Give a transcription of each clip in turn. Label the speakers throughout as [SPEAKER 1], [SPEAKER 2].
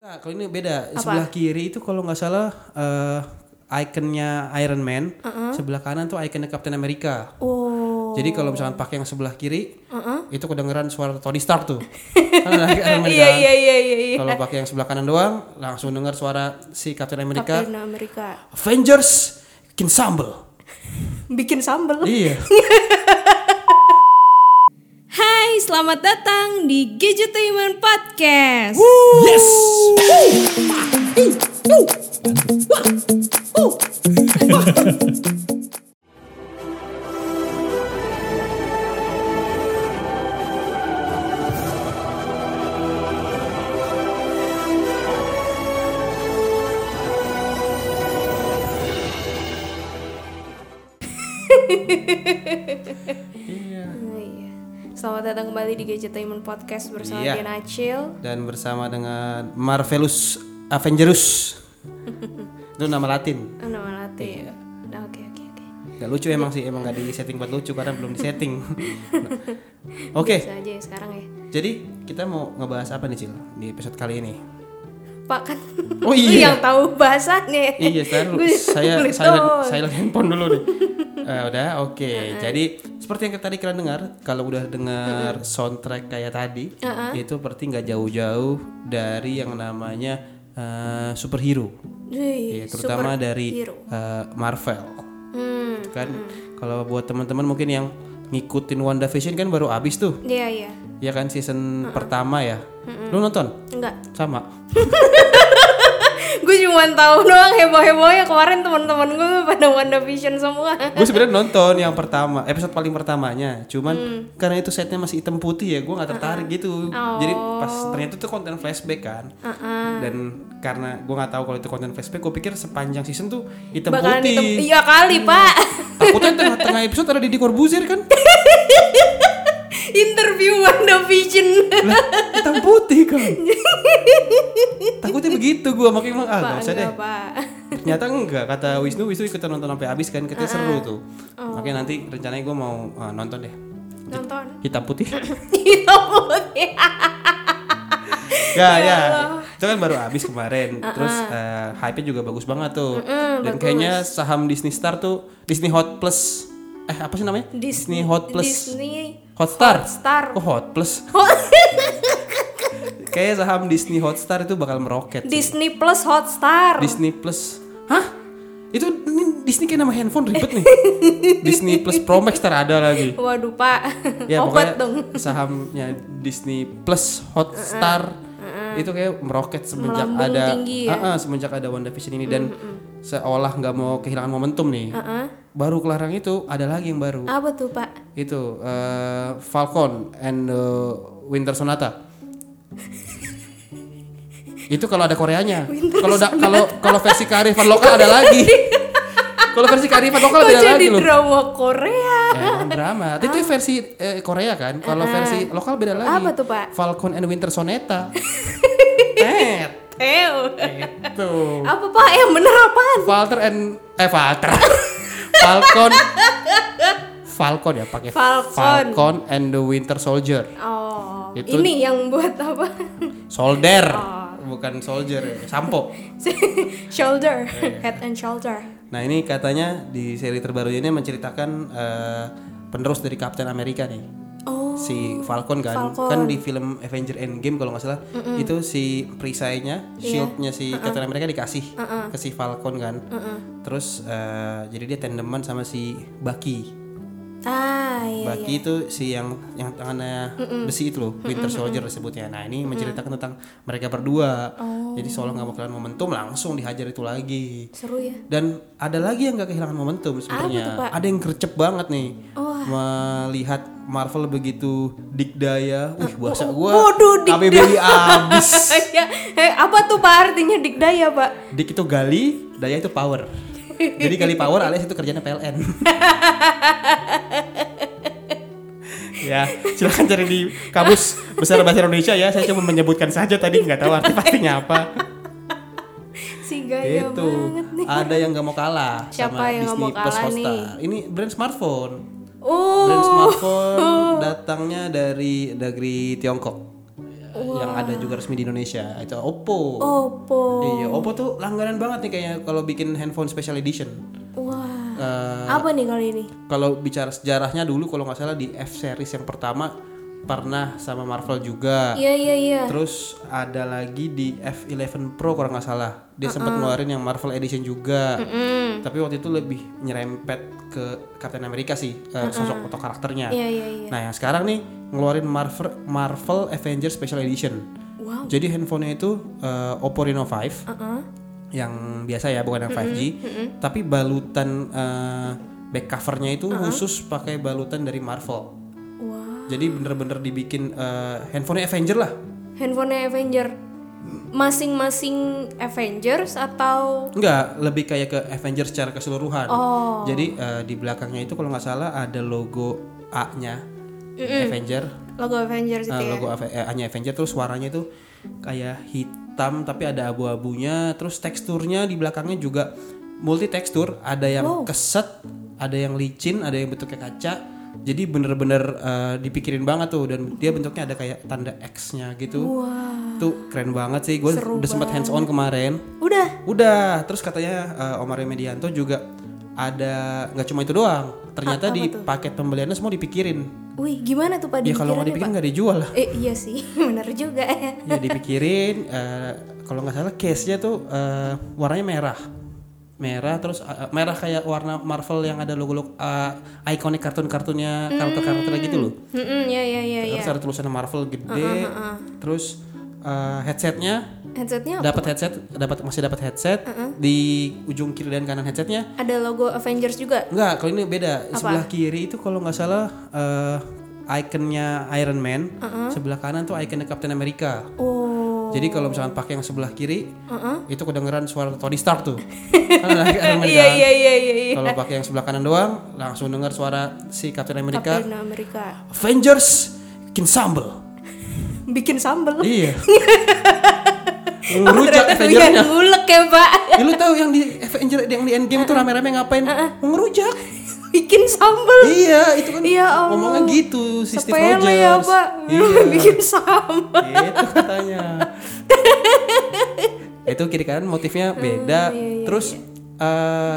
[SPEAKER 1] Ah, kalau ini beda.
[SPEAKER 2] Apa?
[SPEAKER 1] Sebelah kiri itu kalau nggak salah eh ikonnya Iron Man,
[SPEAKER 2] Uh-uh.
[SPEAKER 1] sebelah kanan tuh ikonnya Captain America.
[SPEAKER 2] Oh. Uh-uh.
[SPEAKER 1] Jadi kalau misalkan pakai yang sebelah kiri, itu kedengeran suara Tony Stark tuh. Kan ada Iron Man
[SPEAKER 2] iya
[SPEAKER 1] kan?
[SPEAKER 2] iya iya iya. iya.
[SPEAKER 1] Kalau pakai yang sebelah kanan doang, langsung dengar suara si Captain America.
[SPEAKER 2] Captain Amerika.
[SPEAKER 1] Avengers bikin sambel.
[SPEAKER 2] Bikin sambel.
[SPEAKER 1] iya.
[SPEAKER 2] Hai, selamat datang di Gadgetainment Podcast.
[SPEAKER 1] Yes.
[SPEAKER 2] Oh, iya. Selamat datang kembali di Gadgetainment Podcast bersama
[SPEAKER 1] Iya.
[SPEAKER 2] Diana Acil.
[SPEAKER 1] Dan bersama dengan Marvelous Avengers. itu nama Latin.
[SPEAKER 2] Ah, Nama Latin.
[SPEAKER 1] Iya.
[SPEAKER 2] Nah, Oke oke oke.
[SPEAKER 1] Gak lucu emang sih, emang gak di setting buat lucu karena belum di setting. Oke,
[SPEAKER 2] Bisa aja ya sekarang ya.
[SPEAKER 1] jadi kita mau ngebahas apa nih Cil di episode kali ini?
[SPEAKER 2] Pak kan
[SPEAKER 1] Oh,
[SPEAKER 2] lu
[SPEAKER 1] iya.
[SPEAKER 2] yang tahu bahasanya.
[SPEAKER 1] iya, saya
[SPEAKER 2] Gua
[SPEAKER 1] saya
[SPEAKER 2] nulis
[SPEAKER 1] silent,
[SPEAKER 2] doang.
[SPEAKER 1] silent handphone dulu nih. Eh, udah, oke. Jadi seperti yang tadi kalian dengar, kalau udah dengar soundtrack kayak tadi, itu berarti nggak jauh-jauh dari yang namanya eh, superhero. Iya,
[SPEAKER 2] Wih,
[SPEAKER 1] terutama dari
[SPEAKER 2] superhero.
[SPEAKER 1] eh, Marvel.
[SPEAKER 2] Hmm.
[SPEAKER 1] Kan kalau buat teman-teman mungkin yang ngikutin WandaVision kan baru abis tuh.
[SPEAKER 2] Iya iya.
[SPEAKER 1] Ya kan season pertama ya. Lu nonton?
[SPEAKER 2] Enggak.
[SPEAKER 1] Sama.
[SPEAKER 2] gue cuma tahu doang heboh hebohnya kemarin teman-teman gue pada WandaVision semua.
[SPEAKER 1] Gue sebenarnya nonton yang pertama, episode paling pertamanya. Cuman
[SPEAKER 2] Mm.
[SPEAKER 1] karena itu setnya masih hitam putih ya, gue nggak tertarik gitu. Jadi pas
[SPEAKER 2] Oh.
[SPEAKER 1] ternyata itu konten flashback kan. Dan karena gue nggak tahu kalau itu konten flashback, gue pikir sepanjang season tuh hitam
[SPEAKER 2] Bakalan
[SPEAKER 1] putih.
[SPEAKER 2] hitam iya kali
[SPEAKER 1] Hmm.
[SPEAKER 2] pak.
[SPEAKER 1] Takutnya tengah-tengah episode ada Didi Corbuzier kan?
[SPEAKER 2] Interview WandaVision.
[SPEAKER 1] Lah, hitam putih kan takutnya begitu gue makanya bilang ah
[SPEAKER 2] pak
[SPEAKER 1] nggak usah deh
[SPEAKER 2] enggak pak.
[SPEAKER 1] ternyata enggak kata Wisnu Wisnu ikutan nonton sampai habis kan katanya seru tuh makanya nanti rencananya gue mau ah, nonton deh
[SPEAKER 2] Nonton.
[SPEAKER 1] hitam putih
[SPEAKER 2] Hitam putih.
[SPEAKER 1] ya ya itu kan baru habis kemarin terus eh, hype-nya juga bagus banget tuh dan kayaknya saham Disney Star tuh Disney Hot Plus eh apa sih namanya Disney, Hot Plus
[SPEAKER 2] Disney
[SPEAKER 1] Hotstar
[SPEAKER 2] Star.
[SPEAKER 1] kok Hot Plus kayaknya saham Disney Hotstar itu bakal meroket
[SPEAKER 2] Disney Plus Hotstar.
[SPEAKER 1] Disney Plus. Hah? Itu ini Disney kayak nama handphone ribet nih. Disney Plus Pro Max ntar ada lagi.
[SPEAKER 2] Waduh pak.
[SPEAKER 1] Ya
[SPEAKER 2] Obat
[SPEAKER 1] pokoknya
[SPEAKER 2] dong.
[SPEAKER 1] sahamnya Disney Plus Hotstar itu kayak meroket semenjak
[SPEAKER 2] Melambung
[SPEAKER 1] ada
[SPEAKER 2] tinggi ya?
[SPEAKER 1] Ah, ah, semenjak ada WandaVision ini dan seolah nggak mau kehilangan momentum nih. Baru kelarang itu ada lagi yang baru.
[SPEAKER 2] Apa tuh pak?
[SPEAKER 1] Itu eh, Falcon and the Winter Sonata. itu kalau ada Koreanya. Kalau da- kalau kalau versi kearifan lokal ada lagi. kalau versi kearifan lokal
[SPEAKER 2] Kok
[SPEAKER 1] beda
[SPEAKER 2] jadi
[SPEAKER 1] lagi loh.
[SPEAKER 2] drama Korea?
[SPEAKER 1] Ya, emang drama. Tapi Itu versi eh, Korea kan. Kalau versi lokal beda lagi.
[SPEAKER 2] Ah. Apa tuh, Pak?
[SPEAKER 1] Falcon and Winter Sonata. Tet.
[SPEAKER 2] Ew.
[SPEAKER 1] Eh. Itu.
[SPEAKER 2] Eh, oh. Apa pak? Yang bener apaan?
[SPEAKER 1] Walter and eh Walter. Falcon. Falcon ya pakai
[SPEAKER 2] Falcon.
[SPEAKER 1] Falcon and the Winter Soldier.
[SPEAKER 2] Oh,
[SPEAKER 1] Itu-
[SPEAKER 2] ini yang buat apa?
[SPEAKER 1] Solder.
[SPEAKER 2] Oh.
[SPEAKER 1] Bukan soldier, ya. sampo.
[SPEAKER 2] shoulder,
[SPEAKER 1] Eh.
[SPEAKER 2] head and shoulder.
[SPEAKER 1] Nah ini katanya di seri terbaru ini menceritakan eh, penerus dari Captain America nih.
[SPEAKER 2] Oh.
[SPEAKER 1] Si Falcon kan,
[SPEAKER 2] Falcon.
[SPEAKER 1] kan di film Avenger Endgame kalau nggak salah itu si perisainya,
[SPEAKER 2] Iya.
[SPEAKER 1] shieldnya si Captain America dikasih ke si Falcon kan. Terus eh, jadi dia tandeman sama si Bucky.
[SPEAKER 2] Ah, iya.
[SPEAKER 1] Bucky itu si yang yang tangannya besi itu loh, Winter Soldier disebutnya. Nah ini menceritakan tentang mereka berdua.
[SPEAKER 2] Oh.
[SPEAKER 1] Jadi seolah nggak mau kehilangan momentum langsung dihajar itu lagi.
[SPEAKER 2] Seru ya.
[SPEAKER 1] Dan ada lagi yang gak kehilangan momentum
[SPEAKER 2] Apa tuh, Pak?
[SPEAKER 1] sebenarnya. Ada yang gercep banget nih melihat Marvel begitu dikdaya. Wih, bahasa gua
[SPEAKER 2] Ah, oh, waduh, dikdaya.
[SPEAKER 1] KBBI abis.
[SPEAKER 2] ya, eh, apa tuh Pak artinya dikdaya, Pak?
[SPEAKER 1] Dik itu gali, daya itu power. Jadi gali power alias itu kerjanya PLN. ya, silahkan cari di kamus besar bahasa Indonesia ya. Saya cuma menyebutkan saja tadi nggak tahu arti pastinya apa.
[SPEAKER 2] Si gaya
[SPEAKER 1] Gitu.
[SPEAKER 2] Iya banget nih.
[SPEAKER 1] Ada yang nggak mau kalah
[SPEAKER 2] Siapa
[SPEAKER 1] sama
[SPEAKER 2] yang nggak
[SPEAKER 1] Disney
[SPEAKER 2] mau
[SPEAKER 1] Plus
[SPEAKER 2] kalah
[SPEAKER 1] Hotstar.
[SPEAKER 2] nih?
[SPEAKER 1] Ini brand smartphone.
[SPEAKER 2] Oh.
[SPEAKER 1] Brand smartphone datangnya dari negeri Tiongkok.
[SPEAKER 2] Wow.
[SPEAKER 1] yang ada juga resmi di Indonesia itu Oppo.
[SPEAKER 2] Oh. Oppo.
[SPEAKER 1] Iya, Oppo tuh langganan banget nih kayaknya kalau bikin handphone special edition.
[SPEAKER 2] Wah.
[SPEAKER 1] Eh,
[SPEAKER 2] Apa nih kali ini?
[SPEAKER 1] kalau bicara sejarahnya dulu kalau nggak salah di F series yang pertama pernah sama Marvel juga.
[SPEAKER 2] Iya iya iya.
[SPEAKER 1] Terus ada lagi di F11 Pro kalau nggak salah. Dia sempat ngeluarin yang Marvel Edition juga. Tapi waktu itu lebih nyerempet ke Captain America sih eh, sosok atau karakternya.
[SPEAKER 2] Iya iya iya.
[SPEAKER 1] Nah, yang sekarang nih ngeluarin Marvel Marvel Avengers Special Edition.
[SPEAKER 2] Wow.
[SPEAKER 1] Jadi handphonenya itu eh, Oppo Reno 5
[SPEAKER 2] Uh-uh.
[SPEAKER 1] yang biasa ya bukan yang 5G, tapi balutan eh, back covernya itu
[SPEAKER 2] Uh-uh.
[SPEAKER 1] khusus pakai balutan dari Marvel.
[SPEAKER 2] Wah.
[SPEAKER 1] Jadi bener-bener dibikin eh, handphonenya Avenger lah.
[SPEAKER 2] Handphonenya Avenger. Masing-masing Avengers atau
[SPEAKER 1] Enggak, lebih kayak ke Avengers secara keseluruhan. Jadi eh, di belakangnya itu kalau nggak salah ada logo A-nya Avenger,
[SPEAKER 2] logo
[SPEAKER 1] eh,
[SPEAKER 2] Avengers itu ya?
[SPEAKER 1] logo Ave- eh, A-nya Avenger terus warnanya itu kayak hitam tapi ada abu-abunya, terus teksturnya di belakangnya juga multi tekstur, ada yang keset, ada yang licin, ada yang bentuknya kaca. Jadi bener-bener eh, dipikirin banget tuh dan dia bentuknya ada kayak tanda X-nya gitu. Tuh keren banget sih. Gue udah sempat hands on kemarin.
[SPEAKER 2] Udah.
[SPEAKER 1] Udah, terus katanya eh, Om Aryo Medianto juga ada nggak cuma itu doang. Ternyata di paket pembeliannya semua dipikirin.
[SPEAKER 2] Wih, gimana tuh Pak
[SPEAKER 1] Ya kalau nggak dipikirin
[SPEAKER 2] dipikirannya,
[SPEAKER 1] nggak dijual lah.
[SPEAKER 2] Pak? Eh, iya sih, benar juga.
[SPEAKER 1] Ya dipikirin. eh, kalau nggak salah case-nya tuh eh, warnanya merah, merah terus eh, merah kayak warna Marvel yang ada logo-logo eh, ikonik kartun-kartunnya karakter-karakter gitu loh.
[SPEAKER 2] Heeh, ya ya ya ya.
[SPEAKER 1] Terus ada tulisan Marvel gede. Terus eh, headsetnya
[SPEAKER 2] Headsetnya
[SPEAKER 1] dapat headset, dapat masih dapat headset di ujung kiri dan kanan headsetnya
[SPEAKER 2] ada logo Avengers juga.
[SPEAKER 1] Enggak, kalau ini beda. Sebelah kiri itu kalau nggak salah eh, ikonnya Iron Man,
[SPEAKER 2] Uh-uh.
[SPEAKER 1] sebelah kanan tuh ikonnya Captain America.
[SPEAKER 2] Oh,
[SPEAKER 1] Jadi kalau misalkan pakai yang sebelah kiri, itu kedengeran suara Tony Stark tuh. Kan ada Iron Man
[SPEAKER 2] Uh-uh. iya
[SPEAKER 1] kan?
[SPEAKER 2] iya iya iya. iya.
[SPEAKER 1] Kalau pakai yang sebelah kanan doang, langsung dengar suara si Captain America.
[SPEAKER 2] Captain America.
[SPEAKER 1] Avengers Kinsambel.
[SPEAKER 2] Bikin sambel.
[SPEAKER 1] iya. Ngerujak
[SPEAKER 2] Ternyata
[SPEAKER 1] Avengersnya.
[SPEAKER 2] bikin ngulek ya, Pak.
[SPEAKER 1] Ya, lu tahu yang di Avenger yang di Endgame
[SPEAKER 2] Uh-uh.
[SPEAKER 1] tuh rame-rame ngapain? Ngerujak.
[SPEAKER 2] Bikin sambel.
[SPEAKER 1] Iya, itu kan
[SPEAKER 2] Iya, Allah.
[SPEAKER 1] ngomongnya gitu si Steve
[SPEAKER 2] Sepele
[SPEAKER 1] Rogers.
[SPEAKER 2] ya, Pak.
[SPEAKER 1] Iya,
[SPEAKER 2] Bikin sambel.
[SPEAKER 1] gitu katanya. itu kiri kanan motifnya
[SPEAKER 2] Hmm, iya,
[SPEAKER 1] beda. Terus eh,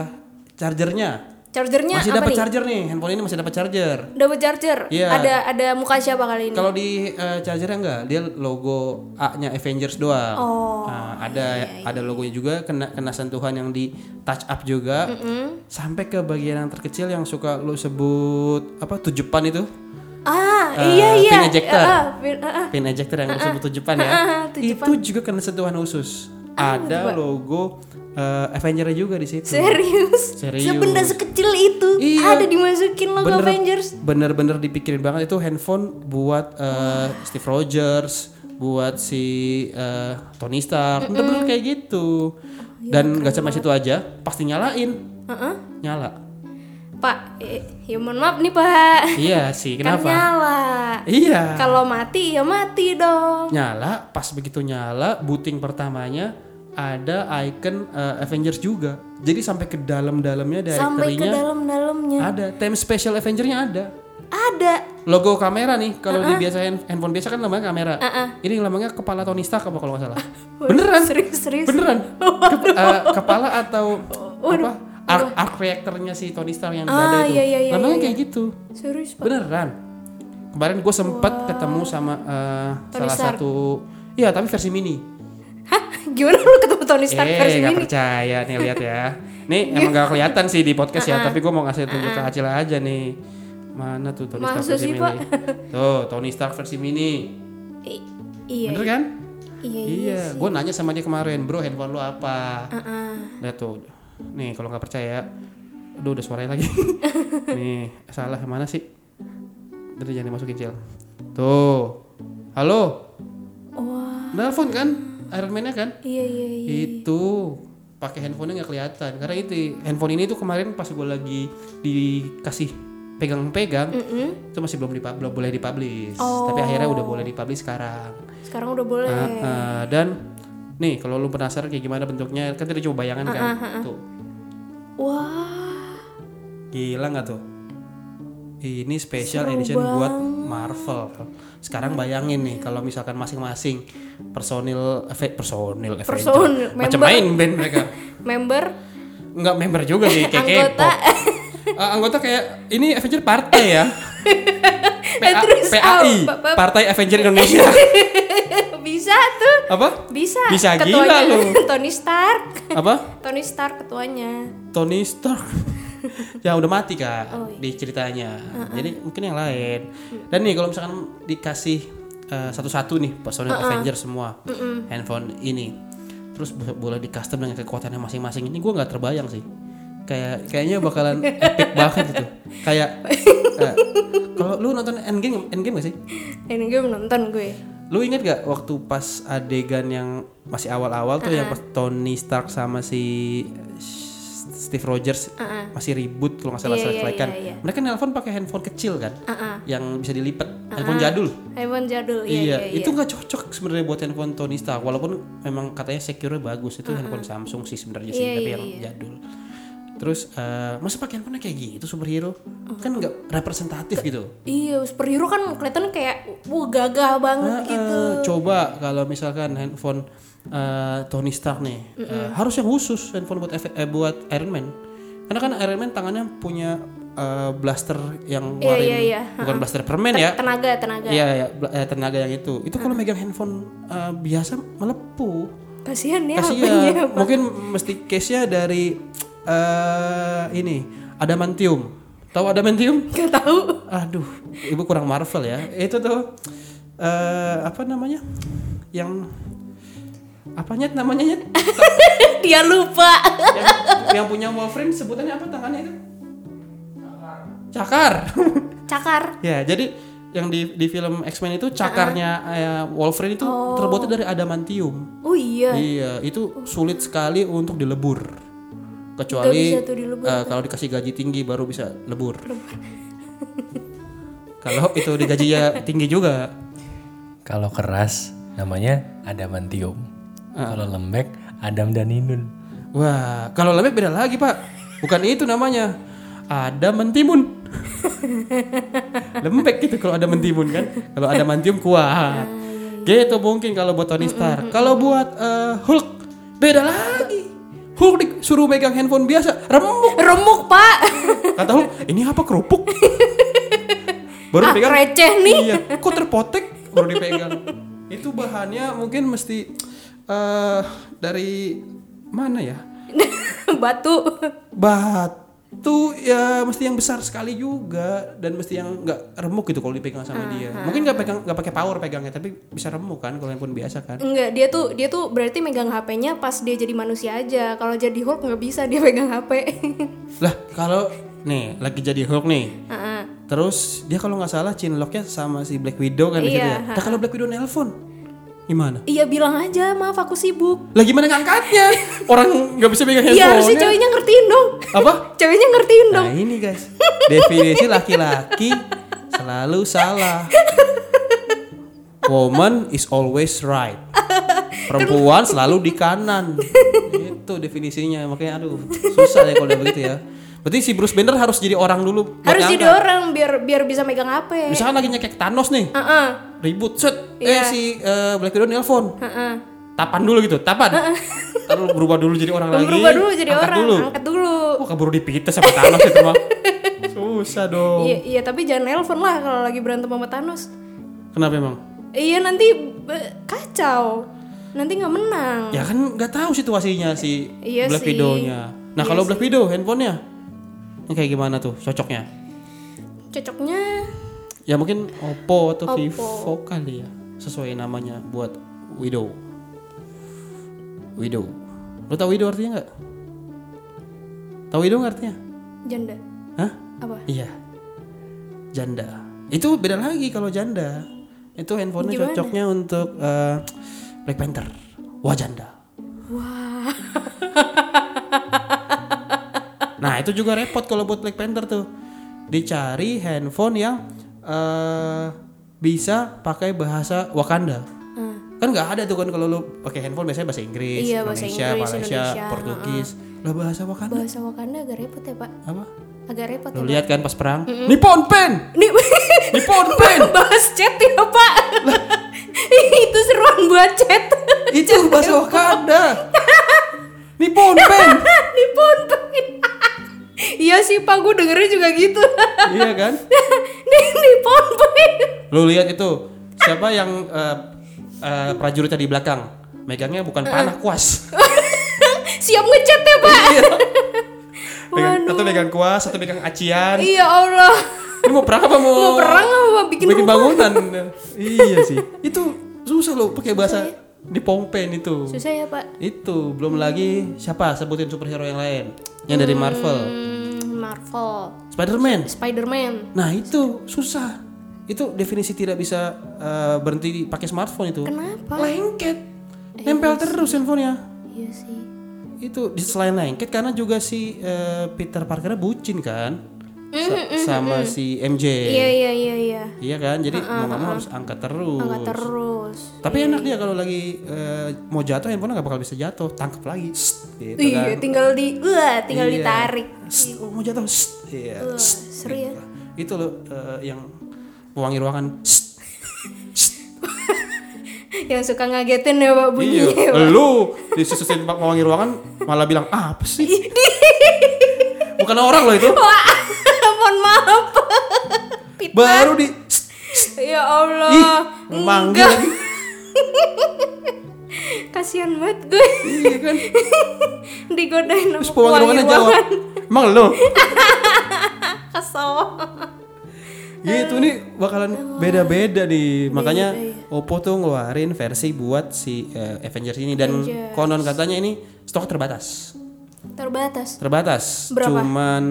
[SPEAKER 1] chargernya
[SPEAKER 2] Chargernya
[SPEAKER 1] masih
[SPEAKER 2] apa
[SPEAKER 1] dapat
[SPEAKER 2] nih?
[SPEAKER 1] charger nih. Handphone ini masih dapat charger.
[SPEAKER 2] Dapat charger.
[SPEAKER 1] Iya.
[SPEAKER 2] Ada ada muka siapa kali ini?
[SPEAKER 1] Kalau di eh, chargernya enggak, dia logo A-nya Avengers doang.
[SPEAKER 2] Oh, iya.
[SPEAKER 1] Nah, ada ada logonya juga kena kena sentuhan yang di touch up juga. Sampai ke bagian yang terkecil yang suka lu sebut apa tujupan itu?
[SPEAKER 2] Ah,
[SPEAKER 1] Eh,
[SPEAKER 2] iya iya.
[SPEAKER 1] pin ejector.
[SPEAKER 2] Ah, pin- ah, ah.
[SPEAKER 1] pin ejector yang disebut tujupan ya. Itu juga kena sentuhan khusus.
[SPEAKER 2] Ah,
[SPEAKER 1] Ada logo eh, Avenger-nya juga di situ.
[SPEAKER 2] Serius?
[SPEAKER 1] Serius.
[SPEAKER 2] Sebenda sekecil itu
[SPEAKER 1] Iya.
[SPEAKER 2] ada dimasukin logo Avengers.
[SPEAKER 1] bener-bener dipikirin banget itu handphone buat eh, Steve Rogers, buat si eh, Tony Stark, bener-bener kayak gitu. Dan gak cuma situ aja, pasti nyalain.
[SPEAKER 2] Iya, Heeh.
[SPEAKER 1] Nyala.
[SPEAKER 2] Pak, eh, ya mohon maaf nih, Pak.
[SPEAKER 1] iya sih,
[SPEAKER 2] Kan
[SPEAKER 1] kenapa?
[SPEAKER 2] nyala.
[SPEAKER 1] Iya.
[SPEAKER 2] Kalau mati ya mati dong.
[SPEAKER 1] Nyala, pas begitu nyala, booting pertamanya ada icon eh, Avengers juga. Jadi sampai ke dalam-dalamnya
[SPEAKER 2] Sampai ke
[SPEAKER 1] directory-nya
[SPEAKER 2] dalam-dalamnya
[SPEAKER 1] ada time special Avengernya ada
[SPEAKER 2] ada.
[SPEAKER 1] logo kamera nih kalau
[SPEAKER 2] Uh-uh.
[SPEAKER 1] di biasa hand- handphone biasa kan namanya kamera ini namanya kepala Tony Stark apa kalau nggak salah beneran
[SPEAKER 2] Serius, serius.
[SPEAKER 1] beneran Ke- eh, kepala atau apa arc, arc reactornya si Tony Stark yang di dada
[SPEAKER 2] Ah,
[SPEAKER 1] itu
[SPEAKER 2] iya, iya, iya,
[SPEAKER 1] namanya kayak gitu
[SPEAKER 2] Serius, Pak.
[SPEAKER 1] beneran kemarin gue sempet ketemu sama eh,
[SPEAKER 2] Tony
[SPEAKER 1] salah
[SPEAKER 2] Stark.
[SPEAKER 1] satu iya tapi versi mini
[SPEAKER 2] Hah? Gimana lu ketemu Tony Stark
[SPEAKER 1] eh
[SPEAKER 2] versi
[SPEAKER 1] nggak
[SPEAKER 2] ini?
[SPEAKER 1] percaya nih lihat ya nih emang gak kelihatan sih di podcast ya tapi gue mau ngasih tunjuk ke Acil aja nih mana tuh Tony Stark
[SPEAKER 2] Masa
[SPEAKER 1] versi
[SPEAKER 2] sih,
[SPEAKER 1] mini
[SPEAKER 2] Pak?
[SPEAKER 1] tuh Tony Stark versi mini
[SPEAKER 2] I- iya,
[SPEAKER 1] bener kan
[SPEAKER 2] iya, iya.
[SPEAKER 1] iya gue nanya sama dia kemarin bro handphone lu apa lihat tuh nih kalau nggak percaya aduh udah suaranya lagi nih salah mana sih Bentar jangan dimasukin Cil tuh halo
[SPEAKER 2] Wah,
[SPEAKER 1] nelfon kan Iron Man-nya kan
[SPEAKER 2] Oh, iya, iya, iya.
[SPEAKER 1] itu pakai handphonenya nggak kelihatan karena itu handphone ini tuh kemarin pas gue lagi dikasih pegang-pegang
[SPEAKER 2] Mm.
[SPEAKER 1] itu masih belum dipa- belum boleh dipublish tapi akhirnya
[SPEAKER 2] Oh.
[SPEAKER 1] udah boleh dipublish sekarang
[SPEAKER 2] Sekarang udah boleh.
[SPEAKER 1] Nah, eh, dan nih kalau lu penasaran kayak gimana bentuknya kan tadi coba bayangan kan tuh
[SPEAKER 2] Wah,
[SPEAKER 1] gila nggak tuh ini special
[SPEAKER 2] seru
[SPEAKER 1] edition buat Marvel. Sekarang bayangin nih kalau misalkan masing-masing personil efek personil Avenger.
[SPEAKER 2] Personil,
[SPEAKER 1] macam
[SPEAKER 2] member.
[SPEAKER 1] main band mereka.
[SPEAKER 2] Member
[SPEAKER 1] Enggak member juga sih kayak
[SPEAKER 2] Anggota.
[SPEAKER 1] K-pop. Eh, anggota kayak ini Avenger partai ya.
[SPEAKER 2] Eh, terus
[SPEAKER 1] PAI,
[SPEAKER 2] apa?
[SPEAKER 1] Partai Avenger Indonesia.
[SPEAKER 2] bisa tuh.
[SPEAKER 1] Apa?
[SPEAKER 2] Bisa.
[SPEAKER 1] Bisa gila
[SPEAKER 2] ketuanya
[SPEAKER 1] lu.
[SPEAKER 2] Tony Stark.
[SPEAKER 1] Apa?
[SPEAKER 2] Tony Stark ketuanya.
[SPEAKER 1] Tony Stark yang udah mati kak
[SPEAKER 2] Oh, iya. Uh-uh.
[SPEAKER 1] di ceritanya jadi mungkin yang lain dan nih kalau misalkan dikasih eh, satu-satu nih personil
[SPEAKER 2] Uh-uh.
[SPEAKER 1] Avenger semua handphone ini terus bo- boleh di custom dengan kekuatannya masing-masing ini gua nggak terbayang sih kayak kayaknya bakalan epic banget gitu kayak eh, kalau lu nonton Endgame Endgame gak sih
[SPEAKER 2] Eh, Ini gue nonton gue.
[SPEAKER 1] lu inget gak waktu pas adegan yang masih awal-awal tuh
[SPEAKER 2] Uh-uh.
[SPEAKER 1] yang pas Tony Stark sama si Steve Rogers
[SPEAKER 2] Uh-uh.
[SPEAKER 1] masih ribut kalau nggak salah
[SPEAKER 2] Iya, iya,
[SPEAKER 1] selek-selekan.
[SPEAKER 2] iya, iya.
[SPEAKER 1] mereka nelpon pakai handphone kecil kan
[SPEAKER 2] Uh-uh.
[SPEAKER 1] yang bisa dilipat handphone jadul
[SPEAKER 2] Ivan jadul.
[SPEAKER 1] iya,
[SPEAKER 2] Iya, iya,
[SPEAKER 1] itu nggak cocok sebenarnya buat handphone Tony Stark walaupun memang katanya secure bagus itu handphone Samsung sih sebenarnya sih
[SPEAKER 2] Uh-uh. Iya,
[SPEAKER 1] tapi
[SPEAKER 2] iya,
[SPEAKER 1] yang
[SPEAKER 2] iya.
[SPEAKER 1] jadul terus eh masa pakai handphone kayak gitu superhero
[SPEAKER 2] Oh.
[SPEAKER 1] kan nggak representatif gitu
[SPEAKER 2] Iya, superhero kan kelihatan kayak wah gagah banget
[SPEAKER 1] Nah,
[SPEAKER 2] gitu.
[SPEAKER 1] eh, coba kalau misalkan handphone eh, Tony Stark nih eh, harus yang khusus handphone buat F- eh, buat Iron Man karena kan Iron Man tangannya punya eh, blaster yang
[SPEAKER 2] Iya,
[SPEAKER 1] ngeluarin
[SPEAKER 2] iya, iya.
[SPEAKER 1] bukan blaster permen
[SPEAKER 2] Ten-
[SPEAKER 1] ya
[SPEAKER 2] Tenaga, tenaga.
[SPEAKER 1] Iya, iya, bla- eh, tenaga yang itu. Itu kalau megang handphone eh, biasa melepuh.
[SPEAKER 2] Kasihan ya apanya.
[SPEAKER 1] Kasihan. Mungkin mesti case-nya dari eh ini, adamantium. Tahu adamantium?
[SPEAKER 2] Gak tahu.
[SPEAKER 1] Aduh, ibu kurang Marvel ya. Itu tuh eh apa namanya? Yang apanya namanya Nyet?
[SPEAKER 2] Dia lupa.
[SPEAKER 1] yang, yang punya Wolverine sebutannya apa tangannya itu? Cakar.
[SPEAKER 2] Cakar.
[SPEAKER 1] ya, jadi yang di di film X-Men itu cakarnya eh, Wolverine itu terbuatnya dari adamantium.
[SPEAKER 2] Oh iya.
[SPEAKER 1] Iya, itu sulit sekali untuk dilebur. Kecuali
[SPEAKER 2] Nggak bisa tuh dilebur,
[SPEAKER 1] eh, kalau dikasih gaji tinggi baru bisa lebur. kalau itu digaji ya tinggi juga.
[SPEAKER 3] Kalau keras namanya adamantium. Kalau lembek Adam dan Inun.
[SPEAKER 1] Wah, kalau lembek beda lagi pak. Bukan itu namanya. Ada mentimun. lembek gitu kalau ada mentimun kan. Kalau ada mentium
[SPEAKER 2] Ah,
[SPEAKER 1] kuat.
[SPEAKER 2] iya,
[SPEAKER 1] Gitu mungkin kalau buat Tony Stark. Kalau buat eh, Hulk beda lagi. Hulk disuruh pegang handphone biasa, remuk.
[SPEAKER 2] Remuk, Pak.
[SPEAKER 1] Kata Hulk, ini apa kerupuk?
[SPEAKER 2] Ah, receh nih.
[SPEAKER 1] Iya, kok terpotek baru dipegang. Itu bahannya mungkin mesti eh dari mana ya?
[SPEAKER 2] Batu.
[SPEAKER 1] batu ya mesti yang besar sekali juga dan mesti yang nggak remuk gitu kalau dipegang
[SPEAKER 2] Ah,
[SPEAKER 1] sama dia mungkin nggak pegang nggak pakai power pegangnya tapi bisa remuk kan kalau handphone biasa kan
[SPEAKER 2] Enggak, dia tuh dia tuh berarti megang HP-nya pas dia jadi manusia aja. Kalau jadi Hulk nggak bisa dia pegang HP.
[SPEAKER 1] lah kalau nih lagi jadi Hulk nih
[SPEAKER 2] Heeh.
[SPEAKER 1] terus dia kalau nggak salah chinlocknya sama si Black Widow kan di situ
[SPEAKER 2] Iya,
[SPEAKER 1] ya nah kalau Black Widow nelpon gimana
[SPEAKER 2] Iya bilang aja, maaf aku sibuk.
[SPEAKER 1] lah gimana ngangkatnya orang nggak bisa pegang
[SPEAKER 2] Iya
[SPEAKER 1] handphone
[SPEAKER 2] harusnya ceweknya ngertiin dong.
[SPEAKER 1] apa
[SPEAKER 2] Ceweknya ngertiin dong.
[SPEAKER 1] Nah ini guys, definisi laki-laki selalu salah. Woman is always right. Perempuan selalu di kanan. Itu definisinya. Makanya aduh, susah ya kalau udah begitu ya. Berarti si Bruce Banner harus jadi orang dulu. buat
[SPEAKER 2] Harus jadi
[SPEAKER 1] ngangkat.
[SPEAKER 2] orang biar biar bisa megang HP.
[SPEAKER 1] Misalkan lagi nyekek Thanos nih,
[SPEAKER 2] Heeh.
[SPEAKER 1] ribut set. Eh
[SPEAKER 2] Iya.
[SPEAKER 1] si eh, Black Widow nelpon.
[SPEAKER 2] Heeh.
[SPEAKER 1] Tapan dulu gitu, tapan. Terus berubah dulu jadi orang lagi.
[SPEAKER 2] Berubah dulu jadi
[SPEAKER 1] angkat
[SPEAKER 2] orang,
[SPEAKER 1] Dulu.
[SPEAKER 2] angkat dulu.
[SPEAKER 1] Wah keburu dipites sama Thanos itu mah. Susah dong.
[SPEAKER 2] Iya, iya tapi jangan nelpon lah kalau lagi berantem sama Thanos.
[SPEAKER 1] Kenapa emang?
[SPEAKER 2] Iya nanti be- kacau, nanti nggak menang.
[SPEAKER 1] Ya kan nggak tahu situasinya si
[SPEAKER 2] Iya
[SPEAKER 1] Black
[SPEAKER 2] sih. Iya
[SPEAKER 1] Widow-nya. Nah kalau Black Widow handphonenya ini kayak gimana tuh cocoknya?
[SPEAKER 2] Cocoknya
[SPEAKER 1] Ya mungkin Oppo atau
[SPEAKER 2] Oppo.
[SPEAKER 1] Vivo kali ya sesuai namanya buat Widow. Widow. Lo tau Widow artinya nggak? Tahu Widow nggak artinya?
[SPEAKER 2] janda
[SPEAKER 1] Hah?
[SPEAKER 2] apa?
[SPEAKER 1] Iya. Janda. Itu beda lagi kalau janda. Itu handphonenya
[SPEAKER 2] Gimana?
[SPEAKER 1] cocoknya untuk eh, Black Panther. Wah janda.
[SPEAKER 2] Wah,
[SPEAKER 1] Nah itu juga repot kalau buat Black Panther tuh dicari handphone yang eh bisa pakai bahasa Wakanda. Kan nggak ada tuh kan kalau lu pakai handphone biasanya bahasa Inggris,
[SPEAKER 2] Hmm. Iya, bahasa
[SPEAKER 1] Indonesia,
[SPEAKER 2] Inggris,
[SPEAKER 1] Malaysia,
[SPEAKER 2] Indonesia, Hmm.
[SPEAKER 1] Portugis. Lah bahasa Wakanda
[SPEAKER 2] bahasa Wakanda agak repot ya pak.
[SPEAKER 1] apa?
[SPEAKER 2] agak repot
[SPEAKER 1] Lu
[SPEAKER 2] ya,
[SPEAKER 1] lihat kan pas perang? Nippon Pen!
[SPEAKER 2] Nih,
[SPEAKER 1] Nippon Pen!
[SPEAKER 2] bahas chat ya pak itu seruan buat chat
[SPEAKER 1] Itu bahasa Wakanda. Nippon Pen!
[SPEAKER 2] di ponpen iya sih pak gue dengernya juga gitu
[SPEAKER 1] iya kan?
[SPEAKER 2] nih di ponpen
[SPEAKER 1] Lu lihat itu siapa yang eh, eh, prajuritnya di belakang? Megangnya bukan
[SPEAKER 2] Eh.
[SPEAKER 1] panah kuas.
[SPEAKER 2] siap ngechat ya pak
[SPEAKER 1] Iya. Megang- satu megang kuas, satu megang acian.
[SPEAKER 2] iya allah
[SPEAKER 1] Ini mau perang apa mau?
[SPEAKER 2] mau perang apa bikin,
[SPEAKER 1] bikin
[SPEAKER 2] rumah?
[SPEAKER 1] bangunan. iya sih. Itu susah loh pakai bahasa
[SPEAKER 2] Iya.
[SPEAKER 1] di Pompen itu.
[SPEAKER 2] susah ya pak
[SPEAKER 1] Itu belum lagi siapa sebutin superhero yang lain yang dari Marvel.
[SPEAKER 2] hmm, Marvel
[SPEAKER 1] Spider-Man.
[SPEAKER 2] Spider-Man
[SPEAKER 1] Nah, itu susah. Itu definisi tidak bisa eh, berhenti pakai smartphone itu.
[SPEAKER 2] kenapa Eh,
[SPEAKER 1] Lengket. Nempel terus handphonenya.
[SPEAKER 2] iya sih
[SPEAKER 1] Itu di selain lengket karena juga si eh, Peter Parker bucin kan. Sa- sama si MJ.
[SPEAKER 2] Mm-hmm, iya iya iya iya
[SPEAKER 1] Iya kan? Jadi mau nggak mau harus angkat terus.
[SPEAKER 2] angkat iya. terus
[SPEAKER 1] Tapi enak dia kalau lagi eh, mau jatuh handphone nggak bakal bisa jatuh, tangkap lagi. Sst, gitu kan.
[SPEAKER 2] iya tinggal di wah tinggal
[SPEAKER 1] Iya.
[SPEAKER 2] ditarik
[SPEAKER 1] Sst, oh, mau jatuh. Sst, iya.
[SPEAKER 2] Wah,
[SPEAKER 1] Sst. kan.
[SPEAKER 2] seru ya
[SPEAKER 1] Itu loh eh, yang pewangi ruangan. Sst.
[SPEAKER 2] yang suka ngagetin ya pak bunyinya ya, Pak.
[SPEAKER 1] Iya, lu disusutin pe- pewangi ruangan malah bilang ah, apa sih? Bukan orang loh itu.
[SPEAKER 2] Wah, mohon maaf.
[SPEAKER 1] Baru di Sst, ih,
[SPEAKER 2] ya Allah.
[SPEAKER 1] manggil lagi.
[SPEAKER 2] Kasihan banget gue
[SPEAKER 1] Iya kan?
[SPEAKER 2] digodain
[SPEAKER 1] Terus
[SPEAKER 2] sama
[SPEAKER 1] pewangi ruangannya jawab. Emang lo?
[SPEAKER 2] Kesel.
[SPEAKER 1] Gitu nih bakalan beda-beda
[SPEAKER 2] Iya,
[SPEAKER 1] nih. Makanya Oppo tuh ngeluarin versi buat si eh, Avengers ini dan
[SPEAKER 2] Avengers.
[SPEAKER 1] konon katanya ini stok terbatas.
[SPEAKER 2] Terbatas.
[SPEAKER 1] Terbatas.
[SPEAKER 2] Berapa?
[SPEAKER 1] Cuman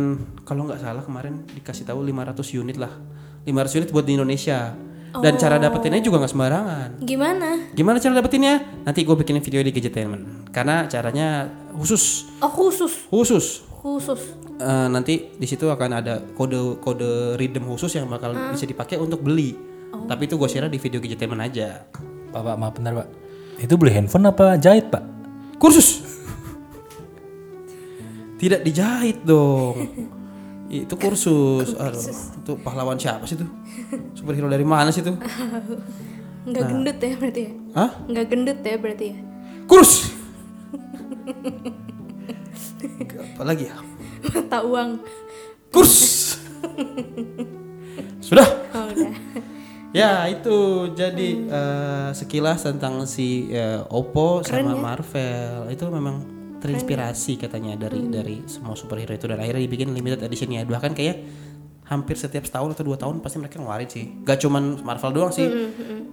[SPEAKER 1] kalau nggak salah kemarin dikasih tahu 500 unit lah. 500 unit buat di Indonesia. Dan
[SPEAKER 2] Oh.
[SPEAKER 1] cara dapetinnya juga nggak sembarangan.
[SPEAKER 2] Gimana?
[SPEAKER 1] Gimana cara dapetinnya? Nanti gue bikinin video di Gadgetainment. Karena caranya khusus,
[SPEAKER 2] Oh, khusus.
[SPEAKER 1] khusus.
[SPEAKER 2] Khusus.
[SPEAKER 1] Eh, nanti di situ akan ada kode kode redeem khusus yang bakal bisa dipakai untuk beli. Tapi itu gue share di video Gadgetainment aja.
[SPEAKER 3] Pak, Pak, maaf bentar, Pak. Itu beli handphone apa jahit, Pak?
[SPEAKER 1] Kursus. Tidak dijahit dong. itu kursus. Aduh, itu pahlawan siapa sih tuh? Superhero dari mana sih tuh? Nah.
[SPEAKER 2] Nggak gendut ya berarti ya?
[SPEAKER 1] Hah?
[SPEAKER 2] Nggak gendut ya berarti ya?
[SPEAKER 1] Kurus. Apa lagi ya?
[SPEAKER 2] Mata uang.
[SPEAKER 1] Kurs. Sudah.
[SPEAKER 2] Oh, udah.
[SPEAKER 1] Ya itu jadi eh, sekilas tentang si eh, Oppo
[SPEAKER 2] ya.
[SPEAKER 1] sama Marvel itu memang terinspirasi katanya dari
[SPEAKER 2] Hmm.
[SPEAKER 1] dari semua superhero itu dan akhirnya dibikin limited edition ya bahkan kayak hampir setiap setahun atau dua tahun pasti mereka ngeluarin sih gak cuman Marvel doang sih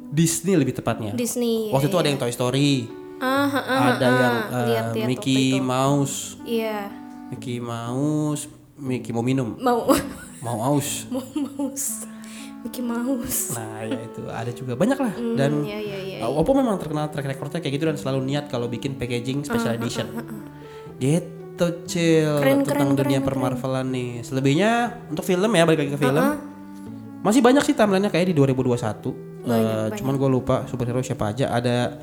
[SPEAKER 1] Disney lebih tepatnya
[SPEAKER 2] Hmm, Disney.
[SPEAKER 1] waktu itu ada yang Toy Story
[SPEAKER 2] Ah, ha, ah,
[SPEAKER 1] ada yang eh,
[SPEAKER 2] lihat-lihat
[SPEAKER 1] Mickey Mouse
[SPEAKER 2] Iya.
[SPEAKER 1] Mickey Mouse Mickey mau minum
[SPEAKER 2] Mau
[SPEAKER 1] mau aus
[SPEAKER 2] mau mouse. Mickey Mouse.
[SPEAKER 1] nah ya itu ada juga banyak lah dan
[SPEAKER 2] Iya, iya, iya.
[SPEAKER 1] Uh, Oppo memang terkenal track recordnya kayak gitu dan selalu niat kalau bikin
[SPEAKER 2] Ah,
[SPEAKER 1] packaging special edition. Gitu cil
[SPEAKER 2] Keren,
[SPEAKER 1] tentang
[SPEAKER 2] keren,
[SPEAKER 1] dunia
[SPEAKER 2] keren, Ah,
[SPEAKER 1] permarvelan nih. Selebihnya untuk film ya balik lagi ke film. Masih banyak sih timelinenya kayak di 2021. Uh, cuman gue lupa superhero siapa aja ada.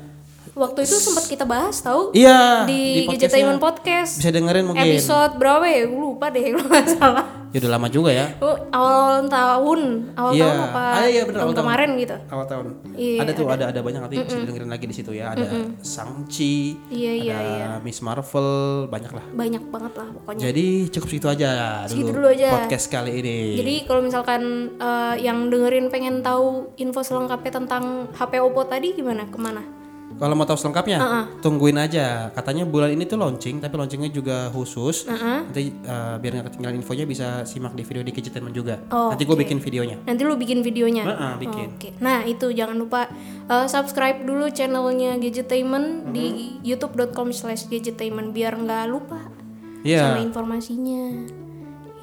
[SPEAKER 2] Waktu itu sempat kita bahas tahu
[SPEAKER 1] Iya
[SPEAKER 2] di,
[SPEAKER 1] podcastnya.
[SPEAKER 2] Gadgetainment Podcast.
[SPEAKER 1] Bisa dengerin mungkin.
[SPEAKER 2] episode berapa ya? Gue lupa deh kalau nggak salah.
[SPEAKER 1] Ya udah lama juga ya.
[SPEAKER 2] Oh, awal tahun, awal
[SPEAKER 1] Iya.
[SPEAKER 2] tahun apa?
[SPEAKER 1] Ah, iya, bener,
[SPEAKER 2] tahun
[SPEAKER 1] awal tahun.
[SPEAKER 2] kemarin gitu.
[SPEAKER 1] Awal tahun.
[SPEAKER 2] Iya,
[SPEAKER 1] ada tuh ada ada banyak nanti bisa dengerin lagi di situ ya. Ada Sangchi,
[SPEAKER 2] Iya, iya,
[SPEAKER 1] ada Miss Marvel, banyak lah.
[SPEAKER 2] Banyak banget lah pokoknya.
[SPEAKER 1] Jadi cukup segitu aja dulu,
[SPEAKER 2] Segitu dulu aja.
[SPEAKER 1] podcast kali ini.
[SPEAKER 2] Jadi kalau misalkan eh, yang dengerin pengen tahu info selengkapnya tentang HP Oppo tadi gimana? Kemana?
[SPEAKER 1] Kalau mau tahu selengkapnya, tungguin aja. Katanya bulan ini tuh launching, tapi launchingnya juga khusus. Nanti eh, biar nggak ketinggalan infonya bisa simak di video di Gadgetainment juga.
[SPEAKER 2] Oh,
[SPEAKER 1] Nanti gue
[SPEAKER 2] oke.
[SPEAKER 1] bikin videonya.
[SPEAKER 2] Nanti lu bikin videonya.
[SPEAKER 1] Heeh, bikin.
[SPEAKER 2] Oke. Nah itu jangan lupa eh, subscribe dulu channelnya
[SPEAKER 1] Mm-hmm.
[SPEAKER 2] Gadgetainment di youtube.com/gadgetainment biar nggak lupa Oh. sama
[SPEAKER 1] Iya.
[SPEAKER 2] informasinya.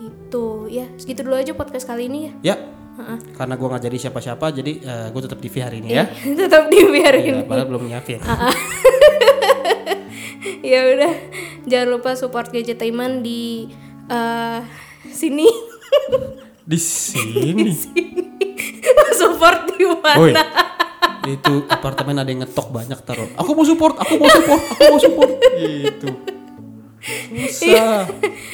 [SPEAKER 2] Itu ya segitu dulu aja podcast kali ini ya.
[SPEAKER 1] Ya. Karena gue nggak jadi siapa-siapa, jadi gue tetap di hari ini ya.
[SPEAKER 2] tetap
[SPEAKER 1] Ya,
[SPEAKER 2] dibiarin
[SPEAKER 1] padahal belum nyiapin.
[SPEAKER 2] ya udah jangan lupa support gadgetainment di eh, sini
[SPEAKER 1] Di sini.
[SPEAKER 2] support di
[SPEAKER 1] Woi.
[SPEAKER 2] mana
[SPEAKER 1] Itu apartemen ada yang ngetok banyak taruh. Aku mau support, aku mau support, aku mau support. gitu.
[SPEAKER 2] Iya.
[SPEAKER 1] Susah.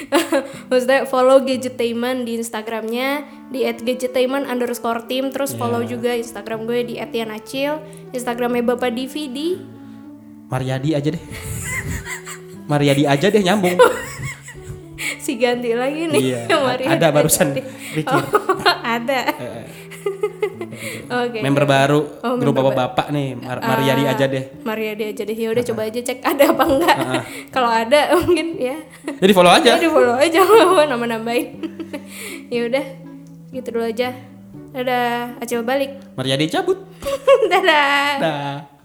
[SPEAKER 2] Maksudnya follow Gadgetainment di Instagramnya di @gadgetainment underscore team terus
[SPEAKER 1] Iya.
[SPEAKER 2] follow juga Instagram gue di @yanacil Instagramnya Bapak Divi di
[SPEAKER 1] Mariadi aja deh. Mariadi aja deh nyambung.
[SPEAKER 2] si ganti lagi Oh, nih
[SPEAKER 1] Iya.
[SPEAKER 2] Maria
[SPEAKER 1] Ada barusan
[SPEAKER 2] Gadgeti.
[SPEAKER 1] Ricky.
[SPEAKER 2] Oh, ada
[SPEAKER 1] Eh,
[SPEAKER 2] oke
[SPEAKER 1] member baru
[SPEAKER 2] Oh,
[SPEAKER 1] grup
[SPEAKER 2] member Ah.
[SPEAKER 1] bapak-bapak nih, Mar- Mariadi aja deh.
[SPEAKER 2] Mariadi aja deh
[SPEAKER 1] Eh,
[SPEAKER 2] ya udah coba aja cek ada apa enggak kalau ada mungkin ya
[SPEAKER 1] Jadi follow aja.
[SPEAKER 2] Jadi follow aja mau nama nambahin. ya udah, gitu dulu aja. Dadah, acil balik.
[SPEAKER 1] Mariadi cabut.
[SPEAKER 2] Dadah.
[SPEAKER 1] Dah.